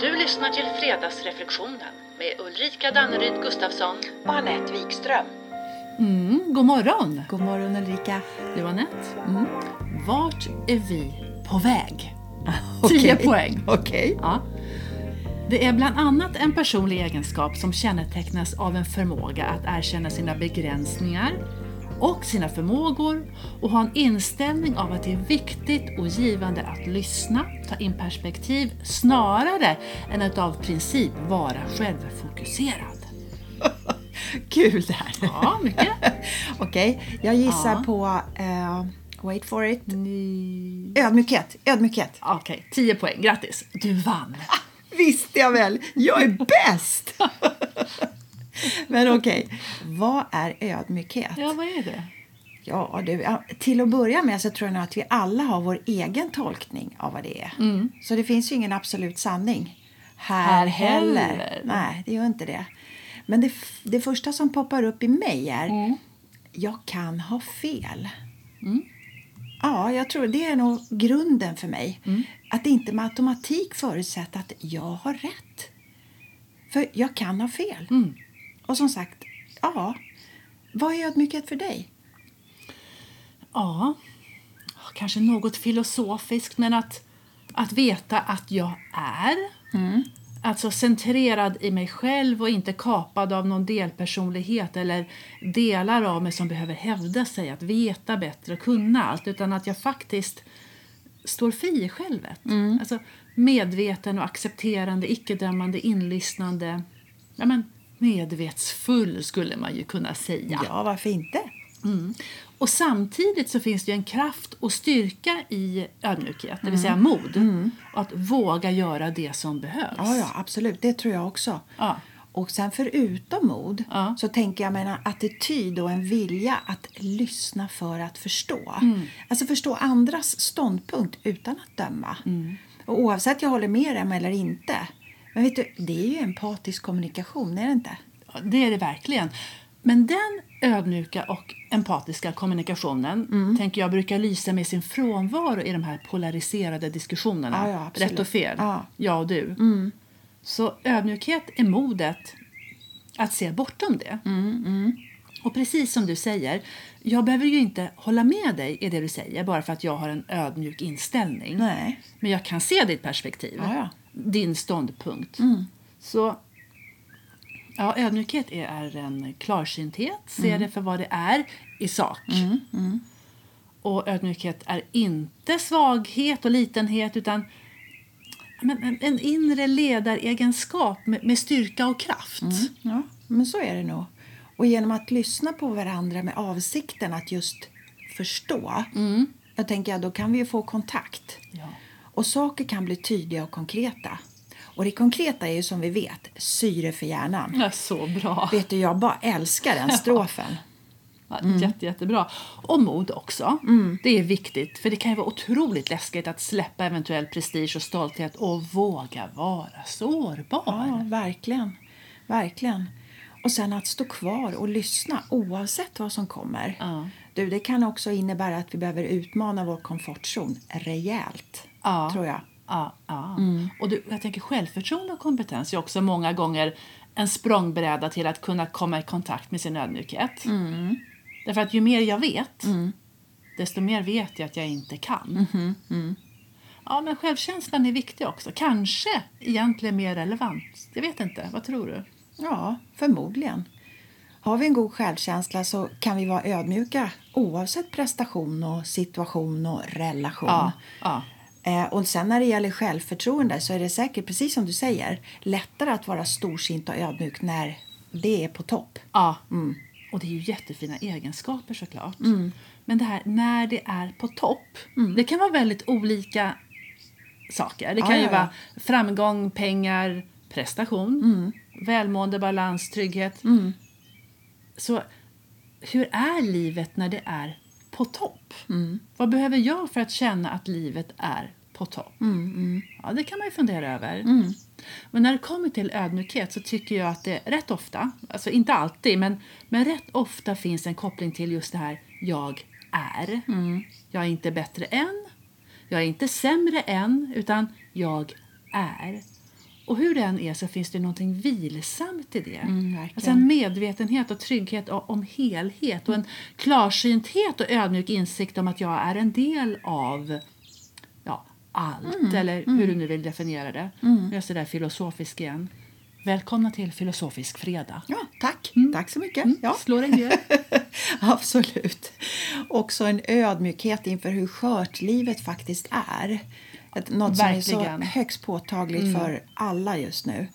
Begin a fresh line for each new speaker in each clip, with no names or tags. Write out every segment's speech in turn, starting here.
Du lyssnar till Fredagsreflektionen med Ulrika Danneryd Gustafsson.
och Anette Wikström.
Mm, god morgon!
God morgon Ulrika.
Du Anette, mm. vart är vi på väg?
Okej.
10 poäng.
Okej.
Ja. Det är bland annat en personlig egenskap som kännetecknas av en förmåga att erkänna sina begränsningar och sina förmågor och ha en inställning av att det är viktigt och givande att lyssna, ta in perspektiv snarare än att av princip vara självfokuserad.
Kul det här.
Ja, mycket.
Okej, jag gissar
Ja.
på, eh, wait for it,
Ni...
ödmjukhet. Ödmjukhet.
Okej, 10 poäng. Grattis! Du vann!
Visste jag väl, jag är bäst! Men okej, vad är ödmjukhet?
Ja, vad är det?
Ja, du, ja, till att börja med så tror jag nog att vi alla har vår egen tolkning av vad det är. Så det finns ju ingen absolut sanning här,
Mm. Här
heller.
heller.
Nej, det gör inte det. Men det, f- det första som poppar upp i mig är
Mm.
jag kan ha fel. Ja, jag tror det är nog grunden för mig.
Mm.
Att det inte med automatik förutsätta att jag har rätt. För jag kan ha fel.
Mm.
Och som sagt, ja. Vad är ödmjukhet för dig?
Ja, kanske något filosofiskt, men att, att veta att jag är. Alltså centrerad i mig själv och inte kapad av någon delpersonlighet eller delar av mig som behöver hävda sig, att veta bättre och kunna allt, utan att jag faktiskt står fri i självet. Alltså medveten och accepterande, icke-dömande, inlyssnande. Ja, men medvetsfull skulle man ju kunna säga.
Ja, varför inte?
Mm. Och samtidigt så finns det ju en kraft och styrka i ödmjukhet, det vill säga mod. Och att våga göra det som behövs.
Ja, ja, absolut. Det tror jag också.
Ja.
Och sen förutom mod
Ja.
så tänker jag med en attityd och en vilja att lyssna för att förstå. Alltså förstå andras ståndpunkt utan att döma. Och oavsett jag håller med dem eller inte. Men vet du, det är ju empatisk kommunikation, är det inte?
Ja, Det är det verkligen. Men den ödmjuka och empatiska kommunikationen
Mm.
tänker jag brukar lysa med sin frånvaro i de här polariserade diskussionerna.
Ja, ja, absolut.
Rätt och fel,
Ja. Mm.
jag och du. Så ödmjukhet är modet att se bortom det.
Mm,
Och precis som du säger, jag behöver ju inte hålla med dig i det du säger bara för att jag har en ödmjuk inställning.
Nej.
Men jag kan se ditt perspektiv,
Ja, Mm. ja.
din ståndpunkt. Så ja, ödmjukhet är- är en klarsynthet, se
Mm.
det för vad det är i sak. Och ödmjukhet är inte svaghet och litenhet utan ja, men en- en inre ledaregenskap med, med styrka och kraft.
Ja, men så är det nog. Och genom att lyssna på varandra med avsikten att just förstå. Jag tänker att då kan vi ju få kontakt.
Mm. Ja.
Och saker kan bli tydliga och konkreta. Och det konkreta är ju som vi vet syre för hjärnan.
Ja, så bra!
Vet du, jag bara älskar den strofen.
Ja, Jätte, jättebra. Och mod också. Det är viktigt, för det kan ju vara otroligt läskigt att släppa eventuell prestige och stolthet och våga vara sårbar.
Ja, verkligen. Verkligen. Och sen att stå kvar och lyssna oavsett vad som kommer.
Ja.
Du, det kan också innebära att vi behöver utmana vår komfortzon rejält.
Ja.
Tror jag.
Ja, ja. Ah, Och du, jag tänker självförtroende och kompetens är också många gånger en språngbräda till att kunna komma i kontakt med sin ödmjukhet. Därför att ju mer jag vet, desto mer vet jag att jag inte kan. Ja, men självkänslan är viktig också. Kanske egentligen mer relevant. Jag vet inte. Vad tror du?
Ja, förmodligen. Har vi en god självkänsla så kan vi vara ödmjuka oavsett prestation och situation och relation.
Ja, ja.
Eh, och sen när det gäller självförtroende så är det säkert, precis som du säger, lättare att vara storsint och ödmjuk när det är på topp.
Ja.
Mm.
Och det är ju jättefina egenskaper såklart. Men det här när det är på topp,
Mm.
det kan vara väldigt olika saker. Det
Ja,
kan ju
ja, ja.
vara framgång, pengar, prestation,
Mm.
välmående, balans, trygghet. Så hur är livet när det är på topp? Vad behöver jag för att känna att livet är på topp? Ja, det kan man ju fundera över. Men när det kommer till ödmjukhet så tycker jag att det rätt ofta, alltså inte alltid, men, men rätt ofta finns en koppling till just det här jag är. Jag är inte bättre än, jag är inte sämre än, utan jag är. Och hur det än är så finns det någonting vilsamt i det.
verkligen.
alltså en medvetenhet och trygghet o- om helhet och en klarsynthet och ödmjuk insikt om att jag är en del av ja, allt,
Mm.
eller hur du nu vill definiera det. Nu är jag sådär filosofisk igen. Välkomna till Filosofisk fredag.
Ja, tack. Tack så mycket.
Mm,
Ja.
slå dig ner.
Absolut. Också en ödmjukhet inför hur skört livet faktiskt är. Ett- Något som är så
Verkligen. Mm.
högst påtagligt för alla just nu.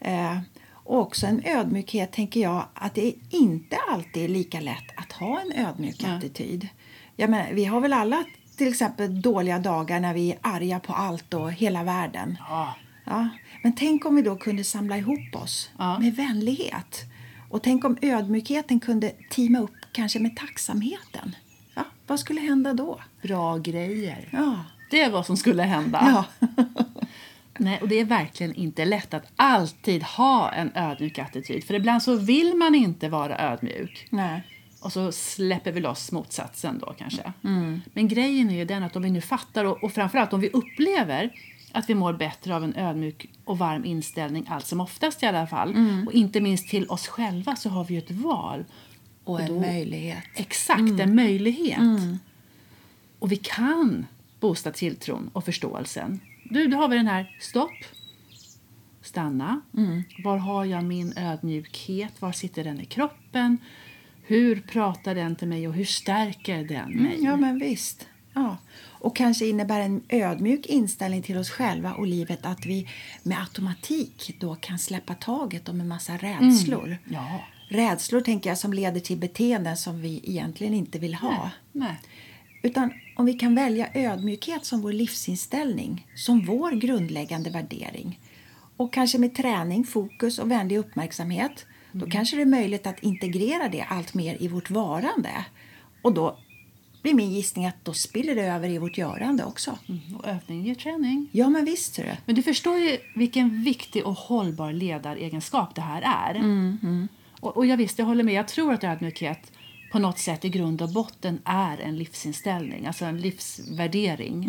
Eh, och också en ödmjukhet, tänker jag, att det inte alltid är lika lätt att ha en ödmjuk attityd. Jag menar, vi har väl alla till exempel dåliga dagar när vi är arga på allt och hela världen.
Ja.
Ja, men tänk om vi då kunde samla ihop oss
Ja.
med vänlighet. Och tänk om ödmjukheten kunde teama upp kanske med tacksamheten. Ja, vad skulle hända då?
Bra grejer.
Ja,
Det var som skulle hända.
ja.
Nej, och det är verkligen inte lätt att alltid ha en ödmjuk attityd. För ibland så vill man inte vara ödmjuk.
Nej.
Och så släpper vi loss motsatsen då kanske.
Mm.
Men grejen är ju den att om vi nu fattar och, och framförallt om vi upplever att vi mår bättre av en ödmjuk och varm inställning allt som oftast i alla fall.
Mm.
Och inte minst till oss själva så har vi ju ett val.
Och en
då-
möjlighet.
Exakt, en möjlighet. Och vi kan boosta tilltron och förståelsen. Du, då har vi den här stopp, stanna. Var har jag min ödmjukhet? Var sitter den i kroppen? Hur pratar den till mig och hur stärker den mig?
Ja, men visst. Ja. Och kanske innebär en ödmjuk inställning till oss själva och livet att vi med automatik då kan släppa taget om en massa rädslor.
Ja.
Rädslor tänker jag som leder till beteenden som vi egentligen inte vill ha.
Nej.
Utan om vi kan välja ödmjukhet som vår livsinställning, som vår grundläggande värdering. Och kanske med träning, fokus och vänlig uppmärksamhet. Då kanske det är möjligt att integrera det allt mer i vårt varande. Och då blir min gissning att då spiller det över i vårt görande också.
Mm, Och övning ger träning.
Ja, men visst ser du.
Men du förstår ju vilken viktig och hållbar ledaregenskap det här är. Och, och jag visst, jag håller med. Jag tror att ödmjukhet på något sätt i grund och botten är en livsinställning, alltså en livsvärdering.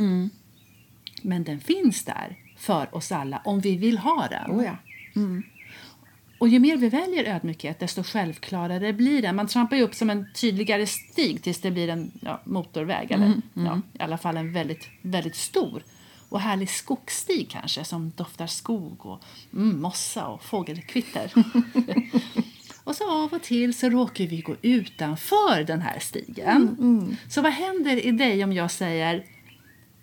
Men den finns där för oss alla om vi vill ha den.
Oh, ja.
Och ju mer vi väljer ödmjukhet, desto självklarare blir den. Man trampar ju upp som en tydligare stig tills det blir en ja, motorväg, eller Ja, i alla fall en väldigt, väldigt stor och härlig skogsstig kanske, som doftar skog och mm, mossa och fågelkvitter. och så av och till så råkar vi gå utanför den här stigen. Så vad händer i dig om jag säger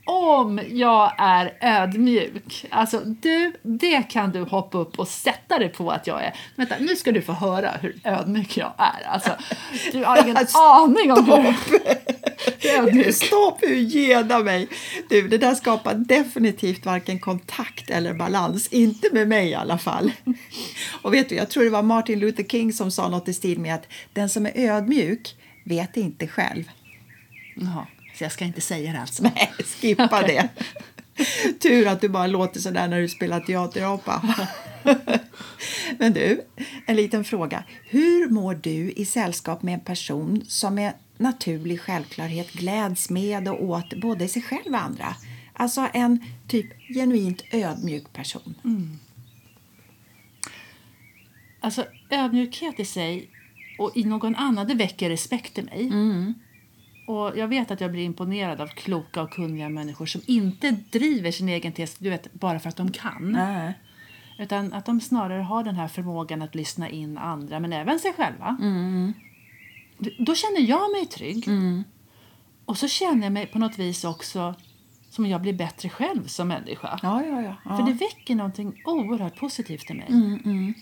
om jag är ödmjuk. Alltså du, det kan du hoppa upp och sätta dig på att jag är. Vänta, nu ska du få höra hur ödmjuk jag är. Alltså, du har ingen aning om hur hur ödmjuk.
Stopp, hur gena mig! Du, det där skapar definitivt varken kontakt eller balans. Inte med mig i alla fall. Och vet du, jag tror det var Martin Luther King som sa något i stil med att den som är ödmjuk vet inte själv.
Jaha, så jag ska inte säga det alltså.
Nej, skippa det. Tur att du bara låter sådär när du spelar teaterapa. Men du, en liten fråga. Hur mår du i sällskap med en person som med naturlig självklarhet gläds med och åt både sig själv och andra? Alltså en typ genuint ödmjuk person.
Alltså ödmjukhet i sig och i någon annan, det väcker respekt i mig. Och jag vet att jag blir imponerad av kloka och kunniga människor som inte driver sin egen tes, du vet, bara för att de kan.
Nej.
Utan att de snarare har den här förmågan att lyssna in andra, men även sig själva. D- Då känner jag mig trygg. Och så känner jag mig på något vis också som jag blir bättre själv som människa.
Ja, ja, ja. ja.
För det väcker någonting oerhört positivt i mig. mm.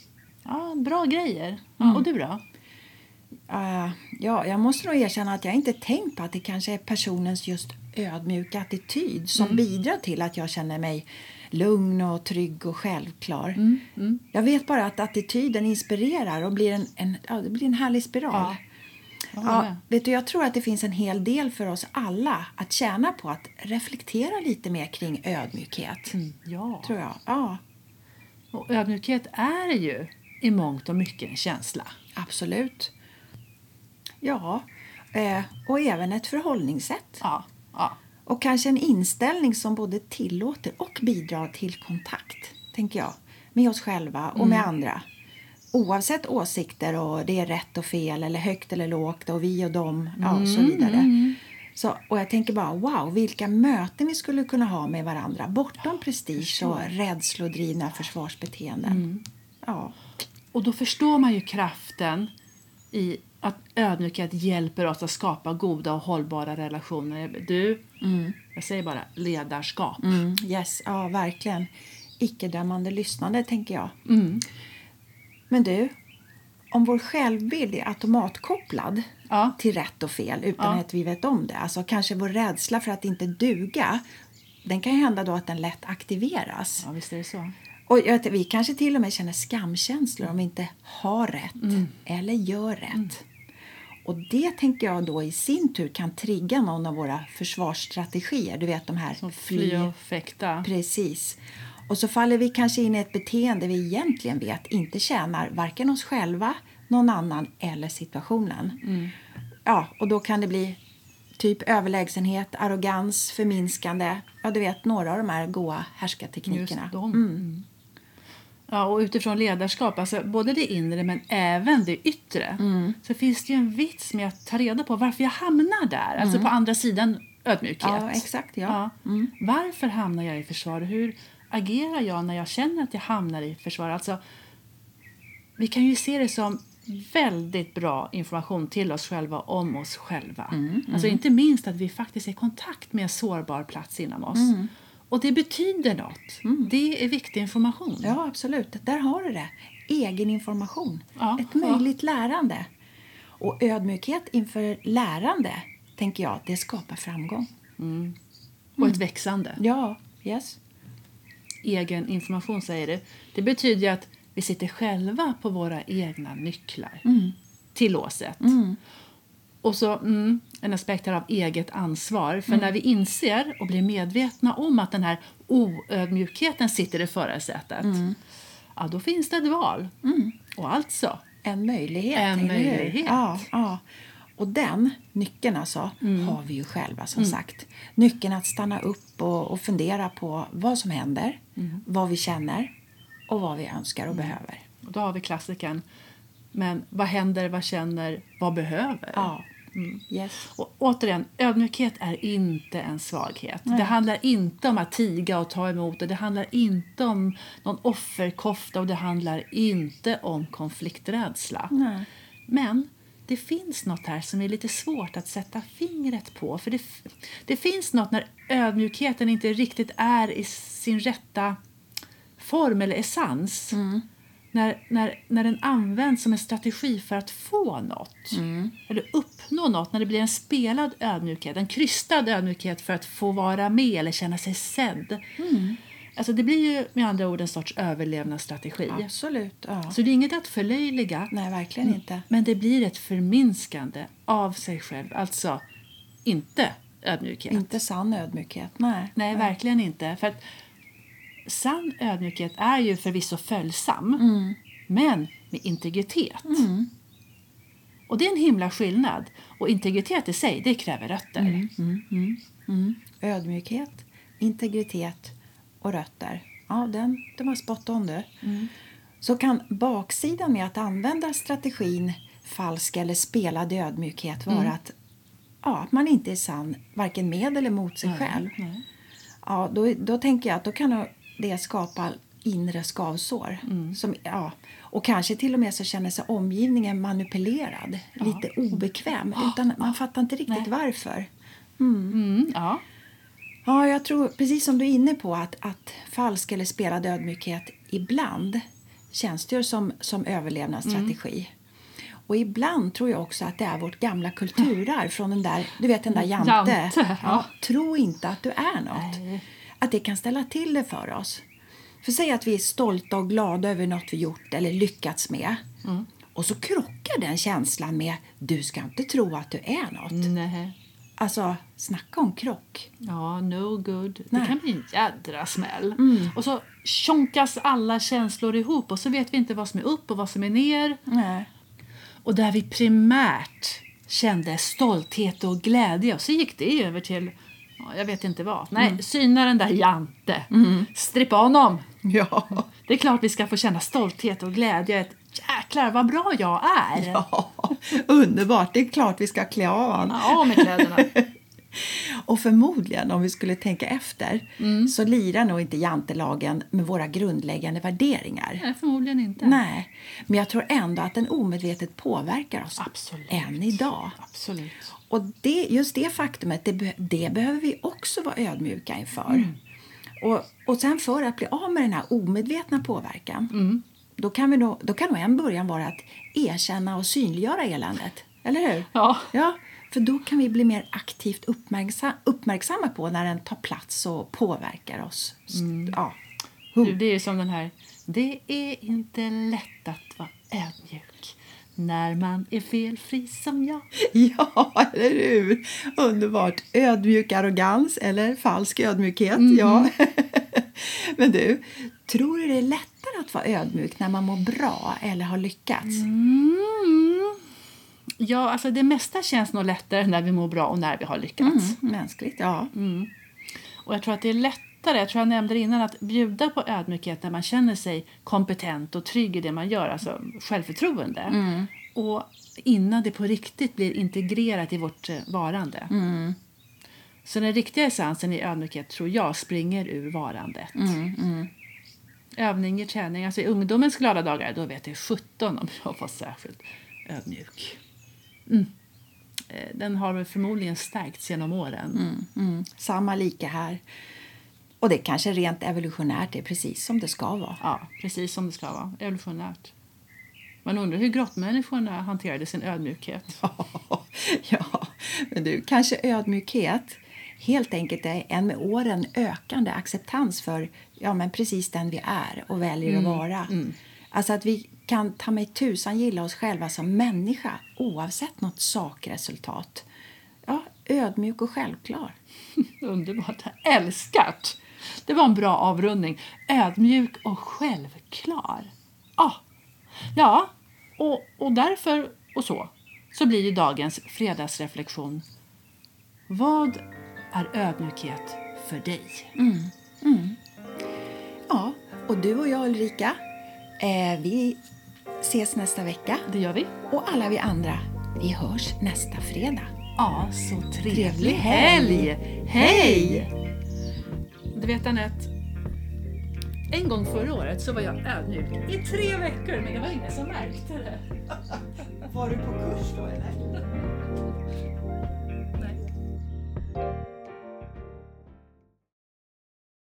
Ja, bra grejer. Ja, och du då?
Eh, ja, jag måste nog erkänna att jag inte tänkt på att det kanske är personens just ödmjuka attityd som
Mm.
bidrar till att jag känner mig lugn och trygg och självklar.
Mm,
Jag vet bara att attityden inspirerar och blir en, en, ja, det blir en härlig spiral.
Ja. Jag håller
Ja,
med.
vet du, jag tror att det finns en hel del för oss alla att tjäna på att reflektera lite mer kring ödmjukhet.
Mm, ja.
Tror jag. Ja,
Och ödmjukhet är ju i mångt och mycket en känsla.
absolut. Ja, eh, och även ett förhållningssätt.
Ja, ja.
Och kanske en inställning som både tillåter och bidrar till kontakt, tänker jag. med oss själva och med andra. Oavsett åsikter och det är rätt och fel eller högt eller lågt och vi och dem ja, och så vidare. Så, och jag tänker bara wow, vilka möten vi skulle kunna ha med varandra bortom prestige och rädslodrivna försvarsbeteenden. Ja.
Och då förstår man ju kraften i att ödmjukhet hjälper oss att skapa goda och hållbara relationer. Du, jag säger bara ledarskap.
Mm, yes, ja verkligen. Icke-dömande lyssnande tänker jag.
Mm.
Men du, om vår självbild är automatkopplad
Ja.
till rätt och fel utan
Ja.
att vi vet om det, alltså kanske vår rädsla för att inte duga, den kan ju hända då att den lätt aktiveras.
Ja, visst är det så.
Och jag vet, vi kanske till och med känner skamkänslor om vi inte har rätt
Mm.
eller gör rätt. Och det tänker jag då i sin tur kan trigga någon av våra försvarsstrategier. Du vet de här
Som fly och fäkta.
Precis. Och så faller vi kanske in i ett beteende vi egentligen vet inte tjänar varken oss själva, någon annan eller situationen.
Mm.
Ja, och då kan det bli typ överlägsenhet, arrogans, förminskande. Ja, du vet, några av de här goa
Just
härskarteknikerna.
dem. Mm. Ja, och utifrån ledarskap, alltså både det inre men även det yttre
Mm.
så finns det ju en vits med att ta reda på varför jag hamnar där, alltså på andra sidan ödmjukhet.
Mm. Ja, exakt, ja. Mm.
Varför hamnar jag i försvar? Hur agerar jag när jag känner att jag hamnar i försvar? Alltså, vi kan ju se det som väldigt bra information till oss själva om oss själva. Alltså inte minst att vi faktiskt är i kontakt med en sårbar plats inom oss. Och det betyder något. Det är viktig information.
Ja, absolut. Där har du det. Egen information.
Ja,
Ett
ja.
möjligt lärande. Och ödmjukhet inför lärande, tänker jag, det skapar framgång.
Och ett växande.
Ja, yes.
Egen information säger det. Det betyder ju att vi sitter själva på våra egna nycklar till låset. Och så mm, en aspekt här av eget ansvar. För när vi inser och blir medvetna om att den här oödmjukheten sitter i förarsätet, ja, då finns det ett val. Och alltså,
En möjlighet.
En
eller hur?
möjlighet.
Ja, ja. Och den nyckeln alltså, har vi ju själva som sagt. Nyckeln att stanna upp och, och fundera på vad som händer, vad vi känner och vad vi önskar och behöver.
och då har vi klassiken. Men vad händer, vad känner, vad behöver?
Ja. Mm. Yes.
Och återigen, ödmjukhet är inte en svaghet. Det handlar inte om att tiga och ta emot. Och det handlar inte om någon offerkofta och det handlar inte om konflikträdsla.
Nej.
Men det finns något här som är lite svårt att sätta fingret på. För det, f- det finns något när ödmjukheten inte riktigt är i sin rätta form eller essens.
Mm.
När, när, när den används som en strategi för att få något
Mm.
eller uppnå något, när det blir en spelad ödmjukhet, en krystad ödmjukhet för att få vara med eller känna sig sedd.
Mm.
Alltså det blir ju med andra ord en sorts överlevnadsstrategi.
Absolut. Ja. Mm.
Så det är inget att förlöjliga,
Nej, verkligen inte.
men det blir ett förminskande av sig själv, alltså inte ödmjukhet.
Inte sann ödmjukhet. Nej.
Nej, verkligen inte. För att sann ödmjukhet är ju förvisso följsam, men med integritet. Och det är en himla skillnad. Och integritet i sig, det kräver rötter.
Ödmjukhet, integritet och rötter. Ja, den, den var spot on du.
Mm.
Så kan baksidan med att använda strategin falsk eller spelad ödmjukhet vara
Mm.
att, ja, att man inte är sann varken med eller mot sig själv.
nej.
Ja, då, då tänker jag att då kan det skapa inre skavsår.
Mm.
Som, ja, och kanske till och med så känner sig omgivningen manipulerad, lite obekväm. Utan man fattar inte riktigt varför.
Mm, ja.
Ja, jag tror precis som du är inne på att, att falsk eller spelad ödmjukhet ibland tjänstgör som, som överlevnadsstrategi. Och ibland tror jag också att det är vårt gamla kulturarv från den där, du vet den där Mm. Jante.
Jante, ja.
Ja, tro inte att du är något. Att det kan ställa till det för oss. För säg att vi är stolta och glada över något vi gjort eller lyckats med. Och så krockar den känslan med du ska inte tro att du är något.
Nej.
Alltså, snacka om krock.
Ja, no good. Det
Nej.
kan bli en jädra smäll. Och så tjonkas alla känslor ihop och så vet vi inte vad som är upp och vad som är ner.
Nej.
Och där vi primärt kände stolthet och glädje och så gick det Mm. över till ja, jag vet inte vad. Nej, syna den där Jante. Strippa honom.
Ja.
Det är klart vi ska få känna stolthet och glädje. Ett, Jäklar vad bra jag är!
ja, underbart. Det är klart vi ska klä av han.
Ja, av med kläderna.
Och förmodligen, om vi skulle tänka efter,
Mm.
så lirar nog inte jantelagen med våra grundläggande värderingar.
Nej, förmodligen inte.
Nej, men jag tror ändå att den omedvetet påverkar oss
Absolut.
än idag.
Absolut.
Och det, just det faktumet, det, be- det behöver vi också vara ödmjuka inför. Och, och sen för att bli av med den här omedvetna påverkan, då, kan vi då, då kan nog en början vara att erkänna och synliggöra eländet. Eller hur?
Ja.
ja för då kan vi bli mer aktivt uppmärksa, uppmärksamma på när den tar plats och påverkar oss. Ja.
Du, det är ju som den här. Det är inte lätt att vara ödmjuk när man är felfri som jag.
Ja, eller hur? Underbart. Ödmjuk arrogans eller falsk ödmjukhet. Ja. Men du, tror du det är lättare att vara ödmjuk när man mår bra eller har lyckats?
Mm. Ja, alltså det mesta känns nog lättare när vi mår bra och när vi har lyckats.
Mm, Mänskligt, ja.
Och jag tror att det är lättare, jag tror jag nämnde det innan, att bjuda på ödmjukhet när man känner sig kompetent och trygg i det man gör, alltså självförtroende. Och innan det på riktigt blir integrerat i vårt eh, varande. Så den riktiga essensen i ödmjukhet tror jag springer ur varandet. Övning i träning, alltså i ungdomens glada dagar, då vet jag 17 om jag var särskilt ödmjuk. Mm. Eh, Den har väl förmodligen stärkts genom åren.
Mm. Samma lika här. Och det kanske rent evolutionärt är precis som det ska vara.
Ja, precis som det ska vara. Evolutionärt. Man undrar hur grottmänniskorna hanterade sin ödmjukhet.
ja, men du, kanske ödmjukhet helt enkelt är en med åren ökande acceptans för ja, men precis den vi är och väljer att vara. Alltså att vi kan ta mig tusan gilla oss själva som människa oavsett något sakresultat. Ja, ödmjuk och självklar.
Underbart. Älskat! Det var en bra avrundning. Ödmjuk och självklar. Ah. Ja, och, och därför och så, så blir ju dagens fredagsreflektion Vad är ödmjukhet för dig?
Ja, och du och jag Ulrika, eh, vi ses nästa vecka.
Det gör vi.
Och alla vi andra, vi hörs nästa fredag.
Ja, så trevlig,
Trevlig
helg!
helg.
Hej! Du vet Anette, en gång förra året så var jag ödmjuk i tre veckor men det var ingen som märkte det.
Var du på kurs då eller?